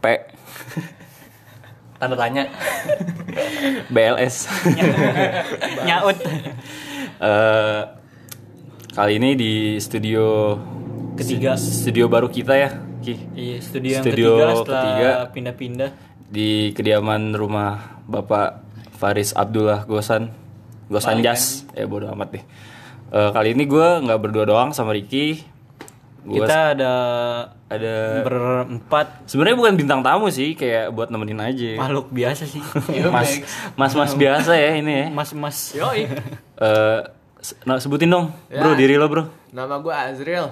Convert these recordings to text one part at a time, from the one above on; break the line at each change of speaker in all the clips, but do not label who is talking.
P
Tanda tanya.
BLS
Nyaut.
Eh, kali ini di studio
Ketiga.
studio baru kita ya Ki
Iya, studio yang
Studio
ketiga lah setelah
ketiga.
pindah-pindah.
di kediaman rumah Bapak Faris Abdullah Gosan Gosan Jas ya bodo amat deh Eh, kali ini gue nggak berdua doang sama Riki Gua
Kita ada
ada
Eh. berempat
sebenarnya bukan bintang tamu sih kayak buat nemenin aja
makhluk biasa sih.
mas mas mas biasa ya ini
Eh.
ya
Mas-mas.
Eh,
Yoi.
se- nah, sebutin dong bro
Ya.
diri lo bro
Nama gue Azril.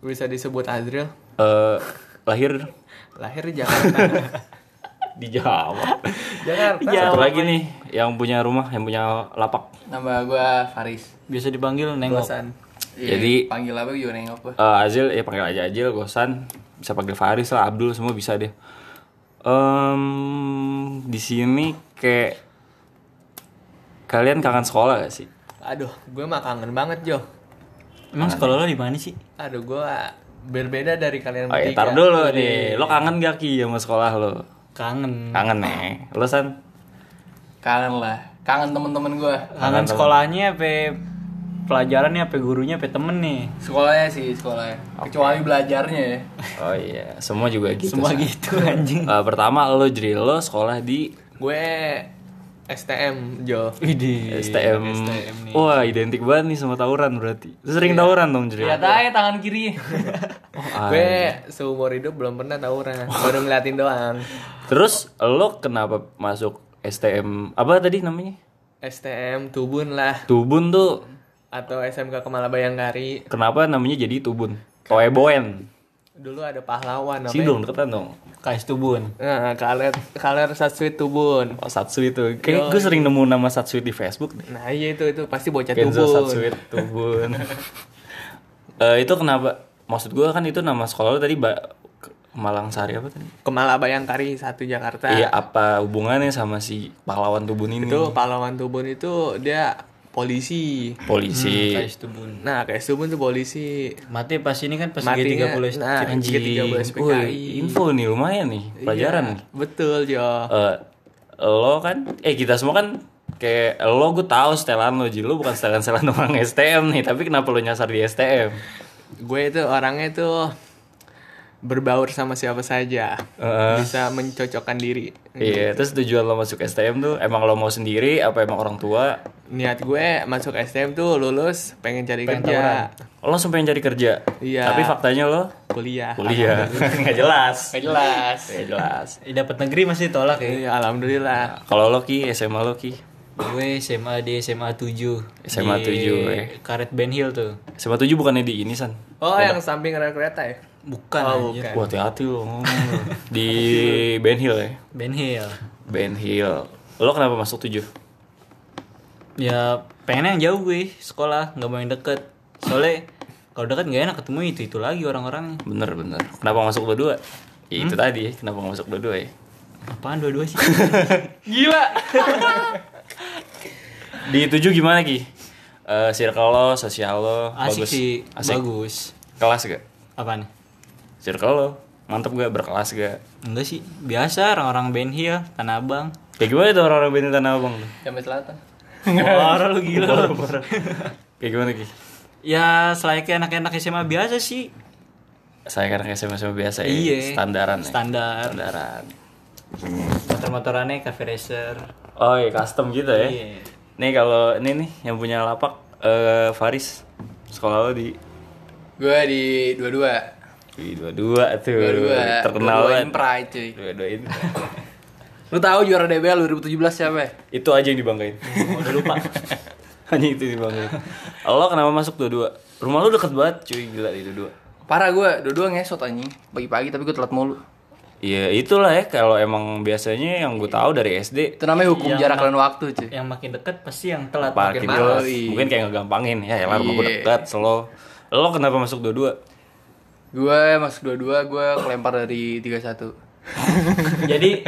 Bisa disebut Azril.
Eh, lahir
Lahir di Jakarta.
di Jawa
Jakarta.
satu lagi nih yang punya rumah yang punya lapak
Nama gue Faris.
Biasa dipanggil nengok.
Bosan.
Iya,
Jadi-
panggil apa juga nengok gue.
Eh, Azil ya panggil aja Azil Gosan bisa panggil Faris lah Abdul semua bisa deh Em, di sini kayak kalian kangen sekolah gak sih
Aduh, gue mah kangen banget Jo.
Emang sekolah lo di mana sih?
Aduh, gue berbeda dari kalian
oh ya
bertiga.
tar dulu nih lo kangen gak ki sama sekolah lo
Kangen.
kangen nih lo san
Kangen lah. Kangen temen-temen gue.
Kangen sekolahnya apa pelajarannya apa gurunya apa temen nih.
Sekolahnya sih sekolahnya. Kecuali belajarnya ya.
oh iya semua juga gitu
Semua
San.
gitu anjing.
Eh, pertama lo jadi lo sekolah di
Gue STM Jo.
Widih.
STM. Wah, identik banget nih sama tawuran berarti. Lu Sering tawuran dong, Jril.
Iya,
Lihat aja tangan kiri.
gue seumur hidup belum pernah tawuran. Baru ngeliatin doang.
Terus lo kenapa masuk STM apa tadi namanya?
STM Tubun lah
Tubun tuh
atau SMK Kemala Bayangkari.
kenapa namanya jadi Tubun? Oh, Toeboen.
Dulu ada pahlawan
Sini dong deketan dong.
Kais Tubun.
Nah, kaler kaler Satsuit Tubun.
Oh, Satsuit tuh. Kayak gue sering nemu nama Satsuit di Facebook deh.
Nah, iya itu itu pasti bocah
Kenzo
Tubun.
Satsuit Tubun. Eh, itu kenapa? Maksud gue kan itu nama sekolah lo tadi ba- Malang Sari apa tadi?
Kemala Bayangkari satu Jakarta.
Iya, apa hubungannya sama si pahlawan Tubun ini?
Itu pahlawan Tubun itu dia polisi.
Polisi.
Kais Tubun.
Nah, kayak Tubun tuh polisi.
Mati pas ini kan pas
Matinya,
G30
nah,
Anjing.
G13 PKI.
Woi, info nih lumayan nih, pelajaran.
Iya, betul, Jo.
Eh, lo kan eh kita semua kan kayak lo gue tahu setelan lo jadi lo bukan setelan setelan orang STM nih tapi kenapa lo nyasar di STM
Gue itu orangnya tuh berbaur sama siapa saja.
Heeh.
Bisa mencocokkan diri.
iya terus tujuan lo masuk STM tuh emang lo mau sendiri apa emang orang tua
Niat gue masuk STM tuh lulus pengen cari kerja,
lo langsung pengen cari kerja
Iya. Ah,
tapi faktanya lo
kuliah.
kuliah nggak jelas
Gak jelas.
nggak jelas
Dapat negeri masih tolak ya.
Iya, alhamdulillah.
kalau lo ki SMA lo ki
Gue SMA di SMA 7.
SMA
Di
7, eh.
Karet Ben Hill tuh.
SMA 7 bukannya di ini san
Oh, yang samping rel kereta ya?
Bukan anjir.
Wah hati-hati lo ngomong lo. di Ben Hill ya
Ben Hill.
Ben Hill lo kenapa masuk 7?
Ya pengen yang jauh gue sekolah, nggak mau yang deket. Soalnya kalau deket nggak enak ketemu itu itu lagi orang-orangnya.
Bener bener. Kenapa masuk dua-dua? Ya, itu
Hmm?
tadi ya, kenapa masuk dua-dua ya?
Apaan dua-dua sih?
Di tujuh gimana ki? Eh circle lo, sosial lo,
Asik
bagus.
sih,
Asik.
bagus.
Kelas gak?
Apaan?
Circle lo, mantep gak? Berkelas gak?
Enggak sih, biasa orang-orang Ben Hill, Tanah Abang.
Kayak gimana tuh orang-orang Beni Tanah Abang? tuh?
Sampai selatan.
Orang lu gila. lu.
Kayak gimana ki?
Ya, selayaknya anak-anak SMA biasa sih.
Saya karena SMA SMA biasa ya,
Iya.
standaran ya.
Standar.
Standaran.
Motor-motorannya cafe racer.
Oh iya, custom gitu ya.
Iya.
Nih kalau ini nih yang punya lapak eh Faris sekolah lo di
Gue di dua-dua.
di dua-dua tuh
Dua-dua.
terkenal
Dua-dua
banget.
Impra cuy.
dua-dua ini
Lu tahu juara DBL 2017 siapa ya?
itu aja yang dibanggain udah lupa hanya itu yang dibanggain lo kenapa masuk dua-dua rumah lo deket banget cuy gila di dua-dua
Parah gue, dua-dua ngesot anjing. Pagi-pagi tapi gue telat mulu.
Iya itulah ya kalau emang biasanya yang gue tahu dari SD
Itu namanya hukum
Yang
jarak
mak-
dan waktu cuy.
Yang makin deket pasti yang telat.
parkir
makin males.
kelas mungkin kayak ngegampangin ya elah rumah gue
Iya.
deket selo lo kenapa masuk dua-dua
Gue masuk dua-dua, gue kelempar dari 31.
Jadi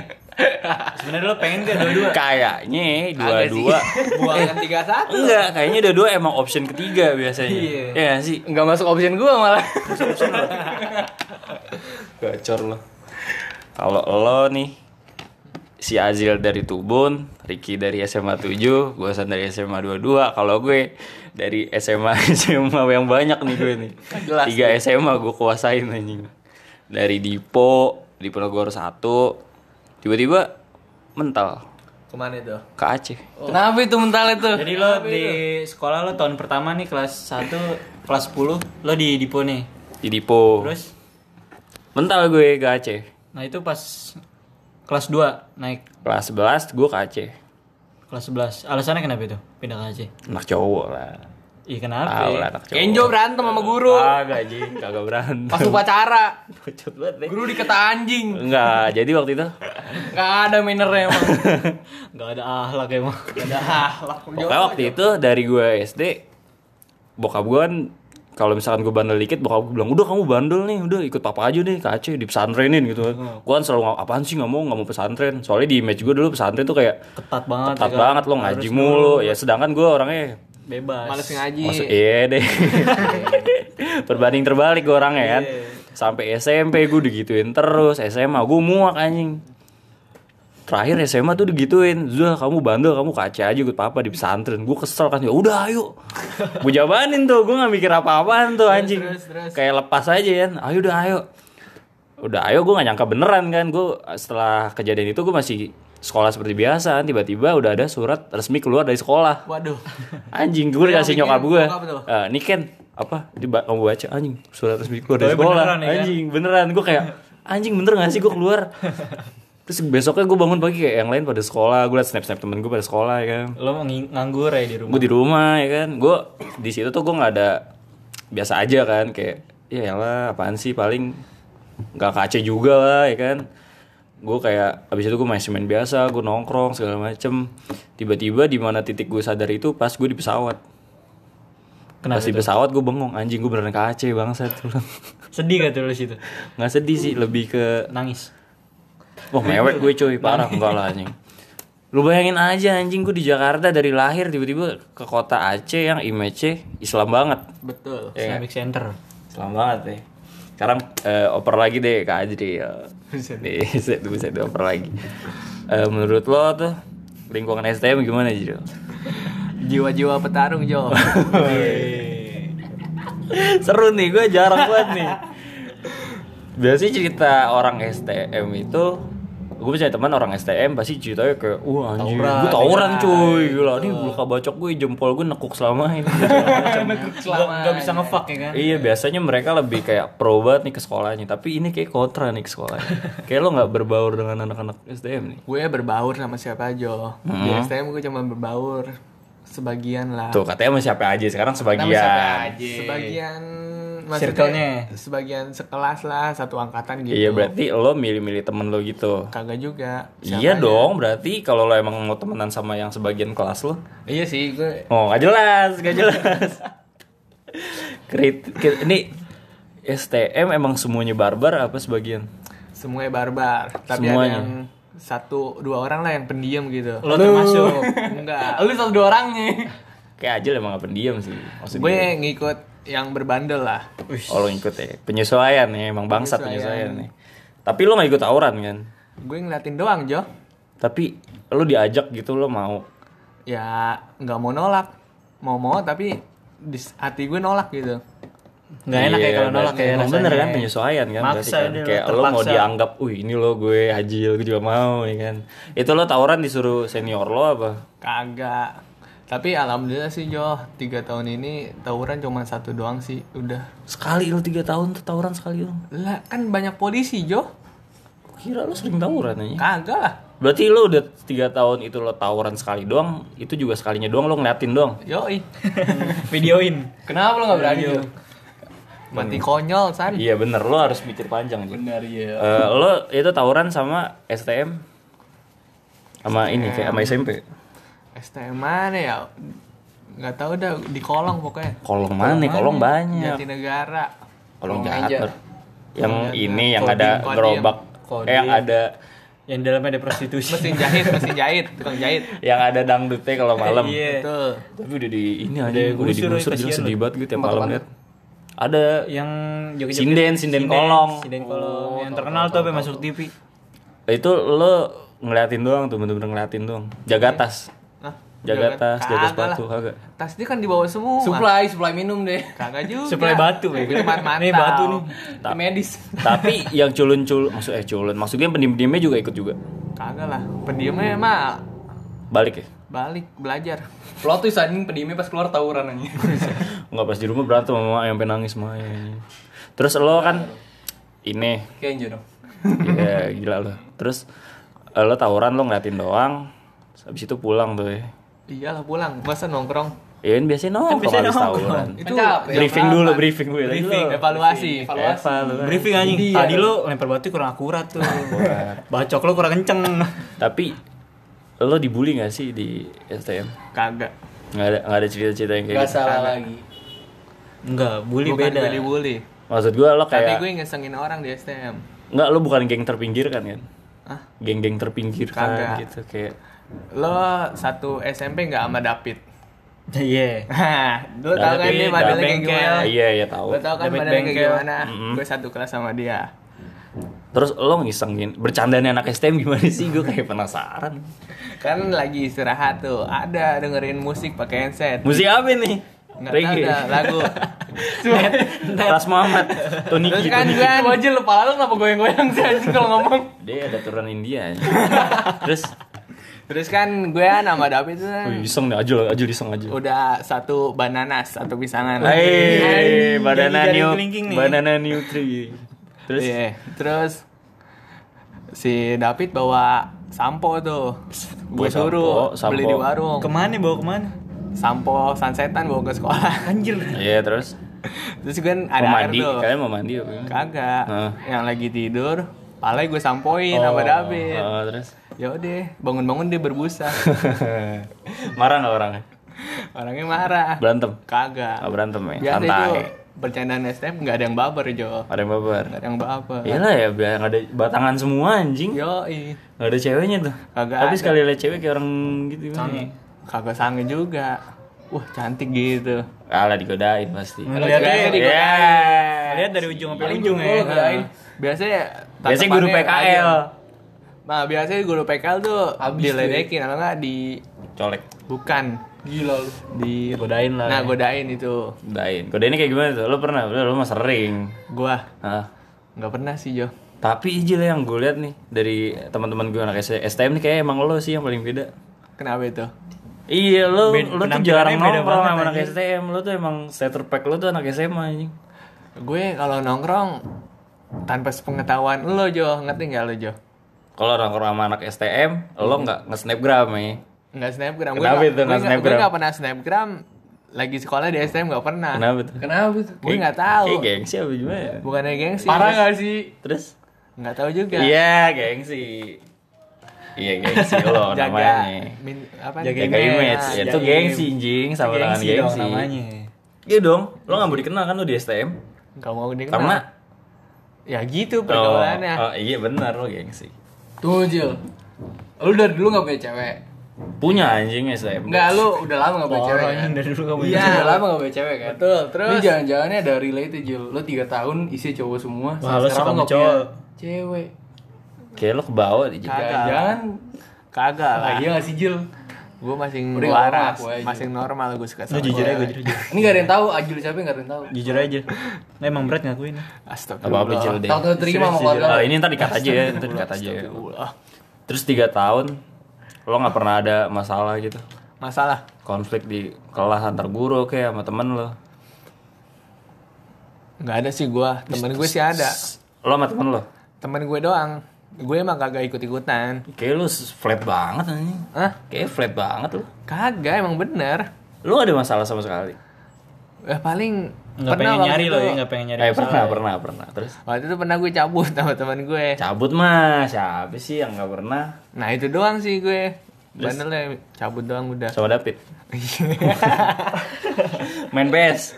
sebenarnya lo pengen gak dua-dua?
kayaknya dua-dua
kan
Buangan 31.
enggak kayaknya dua-dua emang option ketiga biasanya
Iya.
ya nggak sih
Nggak masuk option gue malah.
gacor lo Kalau lo nih si Azil dari Tubun, Ricky dari SMA 7, Gosan dari SMA 22. Kalau gue dari SMA SMA yang banyak nih gue nih.
Jelas.
Tiga SMA gue kuasain anjing. Dari Dipo, Diponegoro 1. Tiba-tiba mental
Kemana itu?
ke Aceh.
Kenapa itu mental itu?
Jadi lo di sekolah lo tahun pertama nih kelas 1, kelas 10 lo di Dipo nih.
Di Dipo.
Terus
Mental gue ke Aceh.
nah itu pas kelas 2 naik
Kelas 11 gue ke Aceh.
kelas 11. Alasannya kenapa itu? Pindah ke Aceh.
Anak cowok lah.
Ih kenapa? ya?
Tahu lah anak cowok. Ah.
Kenjo berantem sama guru.
Kagak anjing, kagak berantem.
Pas upacara.
Pucut banget nih.
Guru dikata anjing.
Enggak, jadi waktu itu
Gak ada mannernya emang.
Gak ada ahlak emang.
Gak ada ahlak.
Pokoknya waktu itu dari gue SD Bokap gue kan kalau misalkan gue bandel dikit bokap gue bilang udah kamu bandel nih udah ikut papa aja deh ke Aceh di pesantrenin gitu kan gue kan selalu ngomong apaan sih nggak mau nggak mau pesantren soalnya di image gue dulu pesantren tuh kayak
Ketat banget.
ketat
ya kan?
banget lo ngaji mulu ya sedangkan gue orangnya
Bebas.
Males ngaji.
Masuk iya deh. Berbanding terbalik gue orangnya kan. Sampai SMP gue digituin terus, SMA gue muak anjing. Terakhir SMA tuh digituin, Zuh kamu bandel, kamu kaca aja ikut papa di pesantren." Gue kesel kan, ya udah ayo. Gue jabanin tuh, gue gak mikir apa-apaan tuh anjing. Kayak lepas aja kan, ayo udah ayo. Udah ayo gue gak nyangka beneran kan, gue setelah kejadian itu gue masih sekolah seperti biasa kan. tiba-tiba udah ada surat resmi keluar dari sekolah
Waduh.
Anjing gue dikasih
bikin
nyokap gue.
nyokap tuh.
Eh, Ini Ken apa? Dia ba- kamu baca anjing surat resmi keluar dari
Tapi
sekolah.
beneran ya, kan?
anjing beneran gue kayak anjing bener gak sih gue keluar. Terus besoknya gue bangun pagi kayak yang lain pada sekolah. Gue liat snap snap temen gue pada sekolah ya kan.
Lo ngi- nganggur ya di rumah.
Gue di rumah ya kan. Gue di situ tuh gue nggak ada biasa aja kan kayak ya lah apaan sih paling nggak kace juga lah ya kan. Gue kayak abis itu gue masih main biasa, gue nongkrong segala macem. Tiba-tiba di mana titik gue sadar itu pas gue di pesawat.
Kenapa
Pas di
itu?
pesawat gue bengong anjing gue beneran ke Aceh bangsat
Sedih gak tuh lo situ?
Nggak sedih sih lebih ke
Nangis.
Wah mewek gue cuy parah enggak lah anjing Lu bayangin aja anjing gue di Jakarta dari lahir tiba-tiba ke kota Aceh yang image Islam banget Iya
Betul.
kan?
Islamic Center.
Islam banget nih Sekarang eh, oper lagi deh Kak Ajri ya. Nih, Bisa bisa dioper lagi Eh, Menurut lo tuh lingkungan STM gimana Jiro?
Jiwa-jiwa petarung, Jo.
Iya. Seru nih, gue jarang banget nih. Biasanya cerita orang STM itu gue punya teman orang STM pasti ceritanya kayak wah anjir
Tauran,
gue tawuran cuy gila nih luka bacok gue jempol gue nekuk selama ini Segala macam. ya.
Gak, gak bisa ngefuck ya kan?
iya biasanya mereka lebih kayak pro banget nih ke sekolahnya tapi ini kayak kontra nih ke sekolahnya kayak lo nggak berbaur dengan anak-anak STM nih
Gue berbaur sama siapa aja. Di STM gue cuma berbaur sebagian lah.
tuh katanya Ah. sama siapa gitu. aja sekarang sebagian
Sebagian
Circle-nya.
sebagian sekelas lah, satu angkatan gitu.
iya berarti lo milih-milih temen lo gitu
Kagak juga. ya?
iya dong berarti kalau lo emang mau temenan sama yang sebagian kelas lo
Iya sih, gue
Oh, gak jelas, gak jelas. Krit, krit- ini STM emang semuanya barbar apa sebagian?
Semuanya barbar, tapi
Semuanya.
ada yang satu dua orang lah yang pendiam gitu.
Lo termasuk.
Enggak.
lu satu dua orangnya.
Kayak aja emang gak pendiam sih. Maksud
Gue ngikut yang berbandel lah.
gue, oh, lo ngikut ya. Penyesuaian ya, emang bangsa penyesuaian, nih. Tapi lo gak ikut tawuran kan?
Gue ngeliatin doang, Jo.
Tapi lo diajak gitu lo mau.
Ya, nggak mau nolak. Mau-mau tapi di s- hati gue nolak gitu.
Gak enak ya
Iya,
kalau nolak
berarti
ya
emang
rasanya.
Bener kan penyesuaian kan? berarti
Maksa
kan?
dia, lo
Kayak lo mau
terpaksa.
dianggap, wih ini lo gue hajil, gue juga mau ya kan. Itu lo tawuran disuruh senior lo apa?
Kagak. Tapi alhamdulillah sih Jo, tiga tahun ini tawuran cuma satu doang sih, udah.
Sekali lo tiga tahun tuh tawuran sekali lo.
Lah kan banyak polisi Jo,
Kira lo sering tawuran aja.
kagak lah.
Berarti lo udah tiga tahun itu lo tawuran sekali doang, itu juga sekalinya doang lo ngeliatin doang.
Yoi,
Videoin.
Kenapa lu gak berani,
Iya.
Jo?
mati konyol san.
Iya bener, lo harus mikir panjang. Ji.
Benar, iya.
Eh, lo itu tawuran sama STM, sama ini kayak sama SMP.
STM mana ya? Nggak tahu dah di kolong pokoknya.
Kolong mana? nih? Kolong banyak.
Jatinegara.
Kolong
Kolong
jahat.
meja.
Nur. Yang ini yang ada
Kodim, kodim.
gerobak,
Kodim.
Eh, yang ada
Yang di dalamnya ada prostitusi.
Mesin jahit, mesin jahit, tukang jahit.
yang ada dangdutnya kalau malam.
Iya.
Betul.
Tapi udah di ini aja, udah
digusur,
digusur, gila
kasihan lo.
sedih banget gue tiap malam liat. Ada
Yang joget-joget.
sinden, sinden kolong.
Oh,
Sinden kolong. yang terkenal tuh apa yang masuk TV.
itu lo ngeliatin doang tuh bener-bener ngeliatin doang jaga tas
Hah?
jaga tas jaga
Kagak
sepatu
lah.
kagak
Tas dia kan dibawa semua.
Supply, supply minum deh.
Kagak juga.
Supply batu, Bego.
Itu mantap.
Nih, batu nih.
Ta-
Medis.
tapi yang culun-culun maksud eh culun maksudnya pendim-pendimnya juga ikut juga
Kagak lah. Pendiamnya mah
balik ya
balik belajar.
Plot twist anjing pendiamnya pas keluar tawuran anjing.
nggak pas di rumah berantem sama yang penangis mah terus lo kan ini
Kayak dong.
ya gila lo terus eh, lo tawuran lo ngeliatin doang Terus habis itu pulang tuh ya
Iyalah pulang. Masa nongkrong?
ya kan biasanya nongkrong
biasanya
habis
nongkrong.
tawuran
Itu
Capek,
briefing
Iya, apa?
dulu briefing gue tadi
Briefing,
lo-
evaluasi.
ya. Evaluasi.
Evaluasi.
Briefing anjing.
Iya.
Tadi lo lempar batu kurang akurat tuh. Bacok lo kurang kenceng.
tapi lo dibully gak sih di STM
Kagak.
nggak ada nggak ada cerita-cerita yang kayak
Gak
gitu
salah lagi.
Enggak, bully
Bukan
beda.
bully-bully.
maksud gue lo
kan Tapi
kayak
gue ngesengin orang di STM.
nggak lo bukan geng terpinggirkan kan
Hah?
geng-geng terpinggirkan
Kagak.
gitu kayak
Lo satu SMP nggak sama David?
Iya.
Hah, lo tau kan
David,
dia modelnya kayak
David bengkel.
gimana?
iya iya tahu
Lo tau kan
David
modelnya kayak
bengkel.
gimana? Gue satu kelas sama dia.
terus lo ngisengin bercandanya anak STM gimana sih gue kayak penasaran
Kan lagi istirahat tuh, ada dengerin musik pakai handset.
musik apa nih
Nggak tahu
Reggae
dah, lagu.
Ras Muhammad Tony
Terus
Ki
kan
Tony Ki.
gue aja lupa lalu kenapa goyang-goyang sih anjing kalau ngomong.
dia ada turunan India ya. terus
Terus kan gue sama David tuh kan
wih iseng nih ajul ajul iseng aja
udah satu bananas, satu pisangan. iya,
Hai, banana
Jadi-jadi
new,
kelingking nih.
banana new tree. Terus
Iya, terus si David bawa sampo tuh.
Bawa sampo,
Gue suruh beli
sampo.
di warung.
Kemana bawa kemana?
sampo sunsetan bawa ke sekolah.
Anjir.
Iya terus
Terus kan ada
mau
air
mandi,
tuh.
kalian mau mandi apa? gimana?
Kagak.
Hah.
Yang lagi tidur, palai gue sampoin
Oh,
sama David.
oh, terus
Ya udah, bangun-bangun dia berbusa.
marah nggak orangnya?
Orangnya marah.
Berantem?
Kagak.
Oh, berantem ya?
Biasa
Santai.
itu bercandaan STM nggak ada yang baper Jo.
Ada yang baper?
Nggak ada yang baper.
Iyalah ya, biar nggak ada batangan semua anjing.
Yoi.
Nggak ada ceweknya tuh.
Iya. Kagak
Tapi
ada.
sekali lihat cewek kayak orang gitu. Sange.
Kagak sange juga. Wah cantik gitu.
Alah Ah, digodain pasti.
Hmm,
Lihat
Biasa di-
Lihat dari ujung sampai ujung
Oh,
ya.
kirain.
Biasanya
Biasanya guru
tatapannya
PKL
tajam. Nah biasanya guru PKL tuh diledekin atau nggak di
Iya. colek.
bukan
Gila lu.
di
Godain lah.
nah godain itu
Godain. Godainnya kayak gimana tuh? Lo pernah? Lo, lo mah sering.
gua
Hah?
nggak pernah sih Jo
Tapi Ijil yang gue lihat nih dari teman-teman gue anak S- STM nih kayak emang lo sih yang paling beda.
kenapa itu
Iya lo
Beda-
lo tuh
penampilannya
jarang
beda
nongkrong
banget,
sama anak
anjing.
STM, lo tuh emang setter pack lo tuh anak SMA anjing.
gue kalau nongkrong tanpa sepengetahuan lo Jo ngerti nggak lo Jo
Kalau nongkrong sama anak STM, lo nggak nge-snapgram ya.
nggak snapgram
Kenapa
gue
itu nggak
gue
snapgram?
gue nggak pernah snapgram lagi sekolah di STM nggak pernah
Kenapa tuh?
Kenapa tuh?
gue nggak tahu
Kayak gengsi apa gimana?
bukannya gengsi
Parah gak sih?
Terus?
nggak tahu juga
Iya, gengsi. Iya, gengsi lo
jaga
namanya.
min, apa
Jaga
Jaga image. Ya, itu
Jaga
gengsi
image.
anjing sama dengan
Gengsi dong
gengsi.
namanya.
Iya dong, lo nggak mau dikenal kan lo di STM?
nggak mau dikenal
Karena
ya
Oh,
gitu pergaulannya
oh, iya benar lo gengsi.
Tuh, Jil. Lu dari dulu gak punya cewek?
Punya anjing STM.
Enggak, lu udah lama gak punya
Orang
cewek kan?
anjing dari dulu kamu.
Iya, udah lama gak punya cewek kan?
betul terus
Ini jangan-jangannya ada relate ya, tuh, Jil. Lu 3 tahun isi cowok semua.
Wah, lo suka
sekarang lu
sama
nggak punya
cowok.
Cewek.
Kayak lo kebawa di
Kagak.
Jangan.
kagak
Iya.
lah
Lagi gak Iya sih, Jil?
gue masih
Udah,
waras
ngaku aja.
masih normal gue suka
Lo
sama
jujur aja,
cewek.
gue jujur aja.
Ini gak ada yang tahu, Ajil siapa yang gak ada yang tahu.
Jujur aja. Nah, emang berat ngakuin.
Apa apa
Astagfirullah.
cil deh.
Tahu-tahu terima sama keluarga.
Ah, ini ntar dikat aja ya, ntar dikat aja ya. Terus tiga tahun lo nggak pernah ada masalah gitu,
Masalah.
konflik di kelas antar guru kayak sama temen lo.
Nggak ada sih gua. Temen gue sih ada.
Lo sama temen lo?
Temen gue doang. Gue emang kagak ikut-ikutan.
Kayak lo flat banget anjing.
Hah?
Kayak flat banget lo.
Kagak emang bener.
Lo gak ada masalah sama sekali.
Eh paling
Enggak pengen
waktu
nyari
itu-
lo
gitu.
ya, enggak pengen nyari.
Eh
masalah.
pernah, pernah, pernah. Terus
Waktu itu pernah gue cabut sama temen gue.
cabut mah siapa sih yang nggak pernah
Nah itu doang sih gue. Bener lah, cabut doang udah.
sama David? main PS.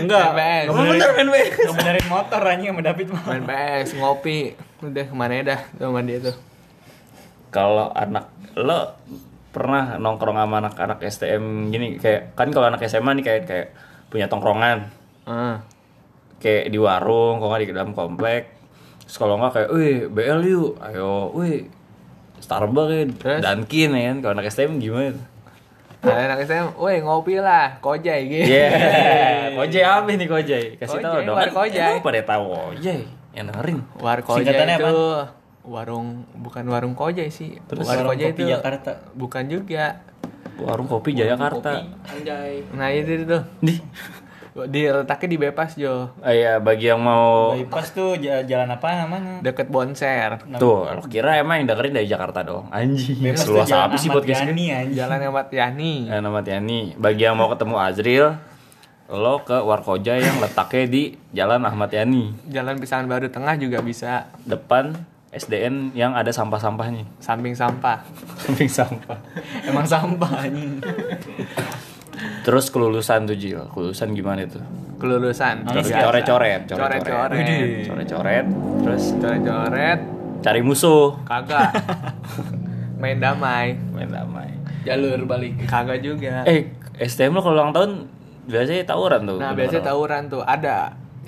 Enggak.
Main PS.
Enggak benerin-
Bener main PS.
enggak benerin motor anjing sama David mah.
Main PS, ngopi. Udah kemana dah sama dia tuh.
kalau anak lo pernah nongkrong sama anak-anak STM gini kayak kan kalau anak SMA nih kayak kayak punya tongkrongan
Ah.
kayak di warung kalau nggak di dalam komplek Terus kalau nggak kayak, wih BL yuk, ayo, wih Starbucks ya,
Terus?
Dunkin ya kan, kalau anak STM gimana?
Ada anak SM, woi ngopi lah, kojai gitu.
Yeah,
Iya.
Iya. Kojai apa nih Kojai? Kasih tahu
Kojai,
dong.
war
Kan
Kojai.
lu pada tahu Kojai, yang dengerin.
War
Singkatannya
kojai
apa?
itu warung bukan warung kojai sih.
Terus
war
warung
kojai
kopi
itu
Jakarta.
bukan juga.
Warung kopi Jayakarta.
Anjay.
Nah itu tuh.
Di,
Diletaknya di Bepas Jo,
ah, iya bagi yang mau
Oh. Bypass tuh ja- jalan apa namanya?
deket Bonser.
Tuh, lo kira emang yang dengerin dari Jakarta dong Anjing,
Bypass tuh
seluas
jalan
apa sih
Ahmad
buat kesini
Yani anjing.
Jalan Ahmad Yani.
Ya, nama Tiani. Bagi yang mau ketemu Azril, lo ke Warkoja yang letaknya di Jalan Ahmad Yani,
Jalan Pisangan Baru Tengah juga bisa
depan SDN yang ada sampah-sampahnya.
samping sampah.
Samping sampah.
Emang sampah anjing.
Terus kelulusan tuh Jil, kelulusan gimana itu?
Kelulusan. biasa.
Coret-coret,
Coret-coret.
coret-coret. Terus
Coret-coret.
cari musuh,
Kagak. Main damai.
main damai.
Jalur balik.
Kagak juga.
Eh, STM lo kalau ulang tahun biasanya tawuran tuh.
Nah biasanya tawuran tuh ada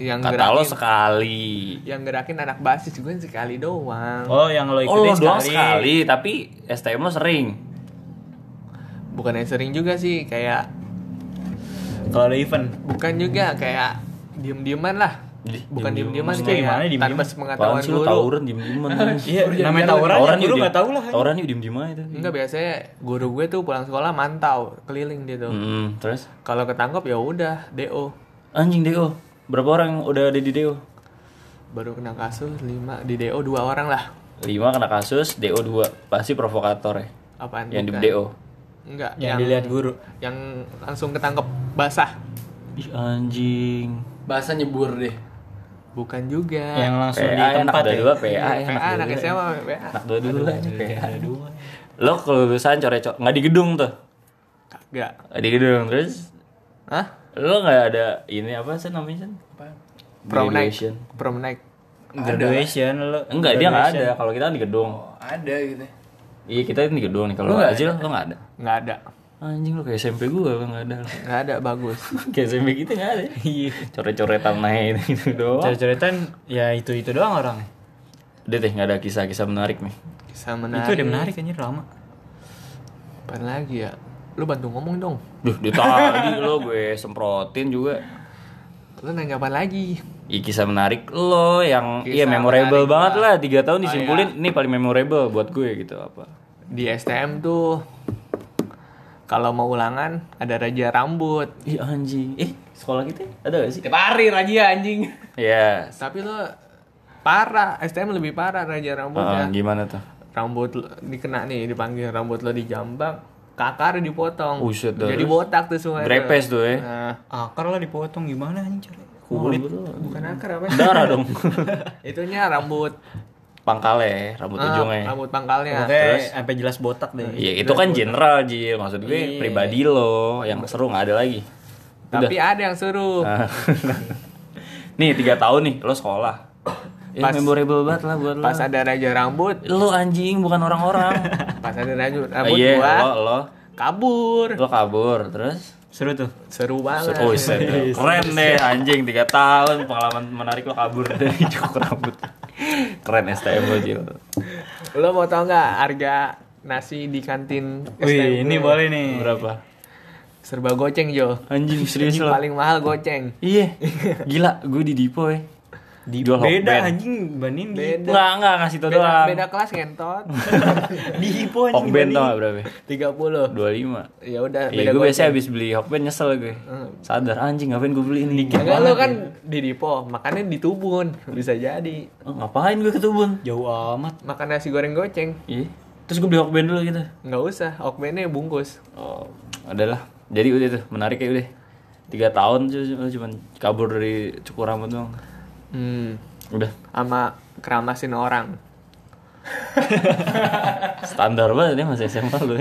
yang
Kata lo
gerakin,
sekali.
yang gerakin anak basis gue sekali doang.
Oh, yang lo
Oh, lo
ikutin
doang
sekali.
sekali, tapi STM lo sering.
Bukan yang sering juga sih kayak
Kalau ada event.
bukan juga kayak diem-dieman lah.
Ih,
Bukan diem-dieman
Maksudnya
kayak
gimana diem-dieman?
tanpa
Apaan
sepengetahuan
sih lo
guru.
tawuran diem-dieman?
Iya, namanya tawuran,
Tawuran
ya,
yuk
lu
diem-
enggak tahu lah.
Tawuran yuk diem diem aja itu.
Enggak biasanya guru gue tuh pulang sekolah mantau keliling dia tuh.
Mm, terus
Kalau ketangkep ya udah DO.
anjing Deo. Berapa orang yang udah ada di Deo?
Baru kena kasus 5 di DO dua orang lah.
5 kena kasus, Deo 2. Pasti provokator ya.
Apaan?
Yang di
bukan?
Deo.
Enggak,
Yang dilihat guru.
yang langsung ketangkep basah.
Ih anjing.
Bahasa nyebur deh.
Bukan juga.
Yang langsung
PA
di tempat
anak
ya.
dua PA
PA,
enak
anak
dua dua.
SMA, PA.
Anak dua dulu anjing, PA. Lo kelulusan coret-coret nggak di gedung tuh.
Enggak.
Nggak Di gedung terus
Hah?
lo nggak ada ini apa sih namanya? San?
Prom night.
Graduation.
Prom night.
Graduation lo.
Enggak, dia nggak ada. Kalau kita kan di gedung.
Oh, ada gitu.
Iya, kita di gedung nih. Kalau
Lu nggak
Azil lo nggak ada.
Enggak ada.
Anjing lu kayak SMP gua lo nggak ada.
Enggak ada bagus.
Kayak SMP kita nggak ada. Iya. Coret-coretan naik gitu doang.
Cerita-ceritaan ya itu-itu doang orangnya.
Udah deh nggak ada kisah-kisah menarik nih.
Bisa menarik.
Itu udah menarik anjir lama.
Apaan lagi ya? Lu bantu ngomong dong.
Duh, di tadi lo gue semprotin juga.
Lu nanya apa lagi?
Iya kisah menarik lo yang
Kisah
iya memorable
menarik
banget
gua.
lah Oh, iya. tiga tahun disimpulin ini paling memorable buat gue gitu apa
Di STM tuh kalau mau ulangan ada raja rambut.
Ih anjing eh sekolah kita ada gak sih
Tiap hari Raja anjing.
ya
Tapi lu parah, STM lebih parah raja rambutnya.
gimana tuh
Rambut lu- dikena nih dipanggil rambut lo dijambak, kakar dipotong.
Buset, dah,
Jadi
terus?
botak tuh semua.
Grepes tuh ya.
Nah,
Akar lah dipotong gimana anjing cara?
kulit
bukan akar apa?
darah dong
Itunya rambut
pangkale rambut
ah,
ujungnya ya.
rambut pangkalnya.
Oke, sampai jelas botak deh.
Iya itu kan general Jil maksud gue
Iya.
pribadi lo yang seru nggak ada lagi.
Tapi ada yang suruh.
Ah. nih tiga tahun nih lo sekolah. Ya,
Pas-
memorable banget lah buat lo.
Pas ada raja rambut,
Lo anjing bukan orang-orang.
pas ada raja rambut
Iya
gua
lo lo
kabur.
lo kabur terus.
Seru tuh.
Seru banget.
Oh, set. keren deh anjing tiga tahun pengalaman menarik lo kabur dari cukur rambut. Keren STM lo Jil.
Lo mau tau nggak harga nasi di kantin STM
Wih, ini
gue?
boleh nih.
Berapa?
serba goceng Jo.
Anjing serius
Ini
lo.
paling mahal goceng.
Iya. Gila gue di Dipo ya. Di Dual Hokben.
Beda anjing banding di
Beda.
Enggak, enggak ngasih tau
Beda,
doang.
beda kelas ngentot.
di Ipo anjing.
Hokben tau
banding.
gak berapa?
30.
25
Ya udah
Iya, gue
beda goceng. Hmm.
biasanya habis beli Hokben nyesel gue Sadar, anjing ngapain gue beli ini
Enggak lo kan di Dipo, makannya di Tubun. Bisa jadi.
Oh, Ngapain gue ketubun?
Jauh amat.
Makan nasi goreng goceng.
Iya Terus gue beli Hokben dulu gitu
Nggak usah, okmennya bungkus.
Oh, adalah Jadi udah tuh, menarik ya udah Tiga tahun cuma cuman kabur dari cukur rambut doang
Hmm,
Udah,
sama keramasin orang.
standar banget ya masih SMA lu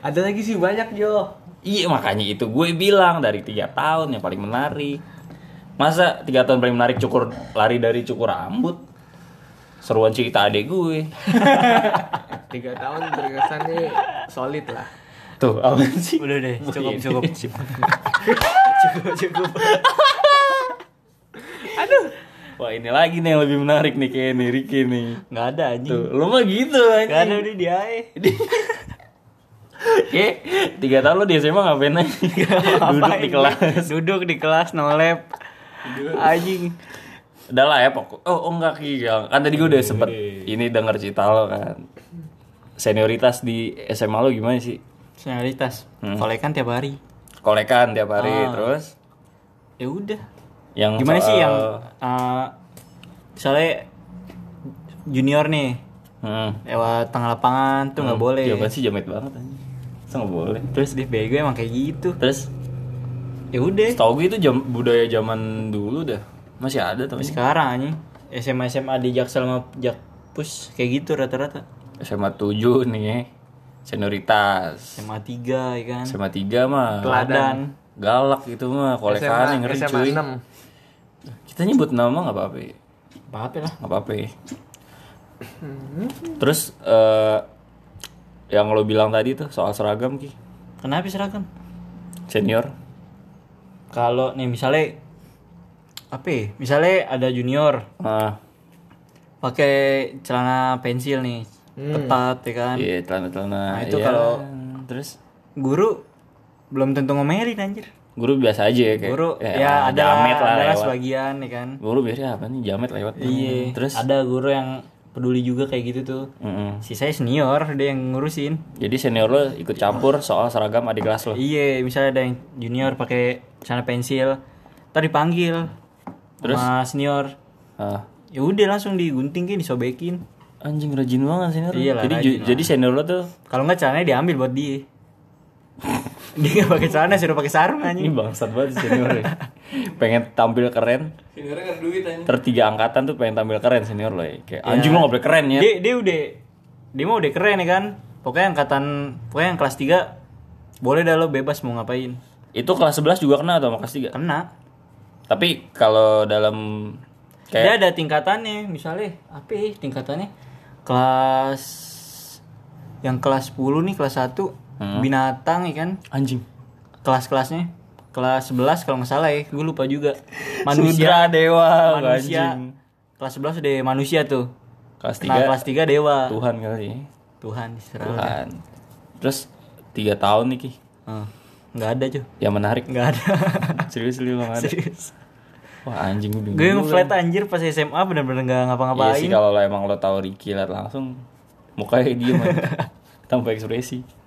Ada lagi sih banyak Jo.
Iya makanya itu gue bilang dari tiga tahun yang paling menarik Masa tiga tahun paling menarik cukur lari dari cukur rambut Seruan cerita adek gue
Tiga tahun berkesan nih solid lah.
Tuh, apa sih?
Udah deh, cukup cukup.
cukup.
cukup cukup.
Wah ini lagi nih yang lebih menarik nih kayak nih Ricky nih.
nggak ada anjing
Tuh, lu mah gitu
nggak ada
anjing.
udah dia eh.
Oke, tiga tahun lu di SMA ngapain aja? Duduk di
Ngapain?
kelas.
E. duduk di kelas no lab anjing
Udah lah ya pokok. Oh, oh enggak Ki. Ya, Kan tadi gue udah sempet
Iya,
ini denger cerita lo kan. Senioritas di SMA lo gimana sih?
senaritas kolekan kan tiap hari
Kolekan tiap hari
Ah.
terus
ya udah
yang Hmm,
gimana
soal-
sih yang eh, soalnya junior nih
Hmm.
lewat tengah lapangan tuh nggak boleh
Jawaban sih jamet banget anjing. Masa nggak boleh?
terus dia bego emang kayak gitu
Terus
ya udah
setahu gue itu jam, budaya zaman dulu dah. Masih ada tapi
Tapi sekarang anjing SMA SMA di Jaksel sama Jakpus kayak gitu rata-rata
SMA 7 nih ya. Senioritas.
SMA 3 ya kan
SMA 3 mah
Teladan
galak gitu mah kolekan yang ngeri
SMA
cuy.
6.
Kita nyebut nama nggak apa-apa. ya.
apa lah Hmm.
Nggak apa-apa. ya. Terus eh, yang lo bilang tadi tuh soal seragam ki
kenapa seragam
senior.
kalau nih misalnya apa ya? misalnya ada junior
Ah,
pakai celana pensil nih ketat ya kan
iya celana-celana.
Nah, itu
Iya.
kalau-
terus
guru belum tentu ngomelin anjir
guru biasa aja ya kayak
guru ya, ada
jamet lah
ada lah
lewat.
sebagian ya kan
Guru biasanya apa nih jamet lewat.
iya
Terus
ada guru yang peduli juga kayak gitu tuh
Mm-mm.
si saya senior dia yang ngurusin
Jadi senior lo ikut campur soal seragam adik kelas lo.
Iya, misalnya ada yang junior pakai celana pensil, tadi dipanggil Terus? sama senior.
Ah,
Ya udah langsung digunting kayak disobekin.
anjing rajin banget senior. lo.
Iyalah,
jadi
Iya rajin
ju- jadi senior lo tuh
Kalau nggak celananya diambil buat dia. dia nggak pakai celana, suruh pakai sarung
ini
anjing.
bangsat banget senior. ya. pengen tampil keren.
Seniornya kan duit aja.
Tertiga angkatan tuh pengen tampil keren senior lo ya.
Iya.
Kayak anjing lo nggak boleh keren ya.
Dia dia udah dia mah udah keren ya kan. Pokoknya angkatan pokoknya yang kelas 3 boleh dah lo bebas mau ngapain.
Itu kelas 11 juga kena atau sama kelas 3?
Kena.
Tapi kalau dalam
Dia
kayak
ada tingkatannya, misalnya apa ya tingkatannya? Kelas yang kelas 10 nih kelas 1
Hmm.
binatang ya kan.
anjing.
kelas-kelasnya kelas 11 kalau nggak salah ya gue lupa juga
Sudra
manusia
dewa
manusia
oh, anjing.
kelas 11 udah manusia tuh
Kelas
Nah,
3
kelas 3 dewa
Tuhan kali ya.
Tuhan diserah
Tuhan. Terus 3 tahun nih Ki.
Hmm. nggak ada cuy
Yang menarik
nggak ada
serius lu nggak ada.
serius
Wah anjing gue bingung.
gue ngeflat anjir pas SMA bener-bener nggak
Iya
ngapa-ngapain
sih kalau lo emang lo tahu Ricky liat langsung mukanya diem aja. tanpa ekspresi.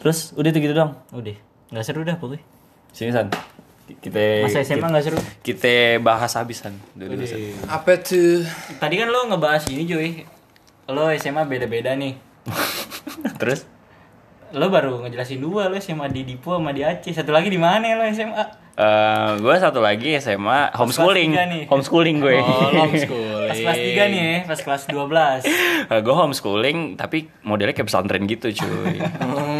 Terus udah itu gitu dong.
udah nggak seru dah pokoknya
Sini San. Kita
masa SMA nggak seru
kita bahas habisan dulu dulu, San.
Apa tuh?
tadi kan lo ngebahas ini cuy lo SMA beda-beda nih
Terus
lo baru ngejelasin dua lo SMA di Dipo sama di Aceh satu lagi di mana lo SMA
eh gue satu lagi SMA homeschooling,
tiga nih. Oh,
homeschooling gue.
Pas kelas 3 nih ya, pas kelas
gue
12
Eh, homeschooling tapi modelnya kayak pesantren gitu cuy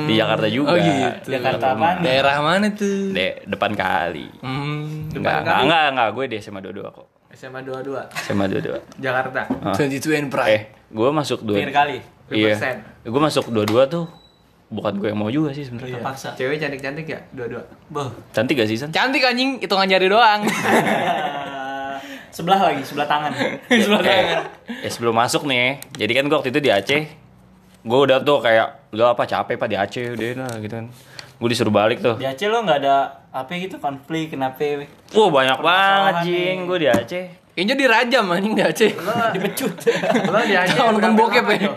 di Jakarta juga.
Oh gitu.
Jakarta apaan?
Daerah mana tuh?
De, depan kali.
Hmm,
Enggak, enggak, enggak, enggak, gue di SMA 22 kok.
SMA 22.
SMA 22.
Jakarta.
22 and
Eh,
Pride.
gue masuk dua.
Clear kali
Iya.
100%.
Gue masuk dua-dua tuh bukan gue yang mau juga sih
Iya.
sebenarnya.
Paksa
Cewek cantik-cantik ya 22.
Boh
Cantik gak sih San?
Cantik anjing, hitungan nyari doang.
Sebelah lagi, sebelah tangan
Sebelah tangan.
Eh, sebelum masuk nih, jadi kan gue waktu itu di Aceh, gue udah tuh kayak udah apa capek pak di Aceh udah lah gitu kan. Gue disuruh balik tuh.
Di Aceh lo gak ada apa gitu konflik, kenapa
Wah banyak banget
Permasalahan
jing
nih.
gue di Aceh.
Kayaknya dirajam anjing di Aceh.
dipecut
Lo di Aceh
Tahun
berapa
depan bokep
lama,
ya.
Jo?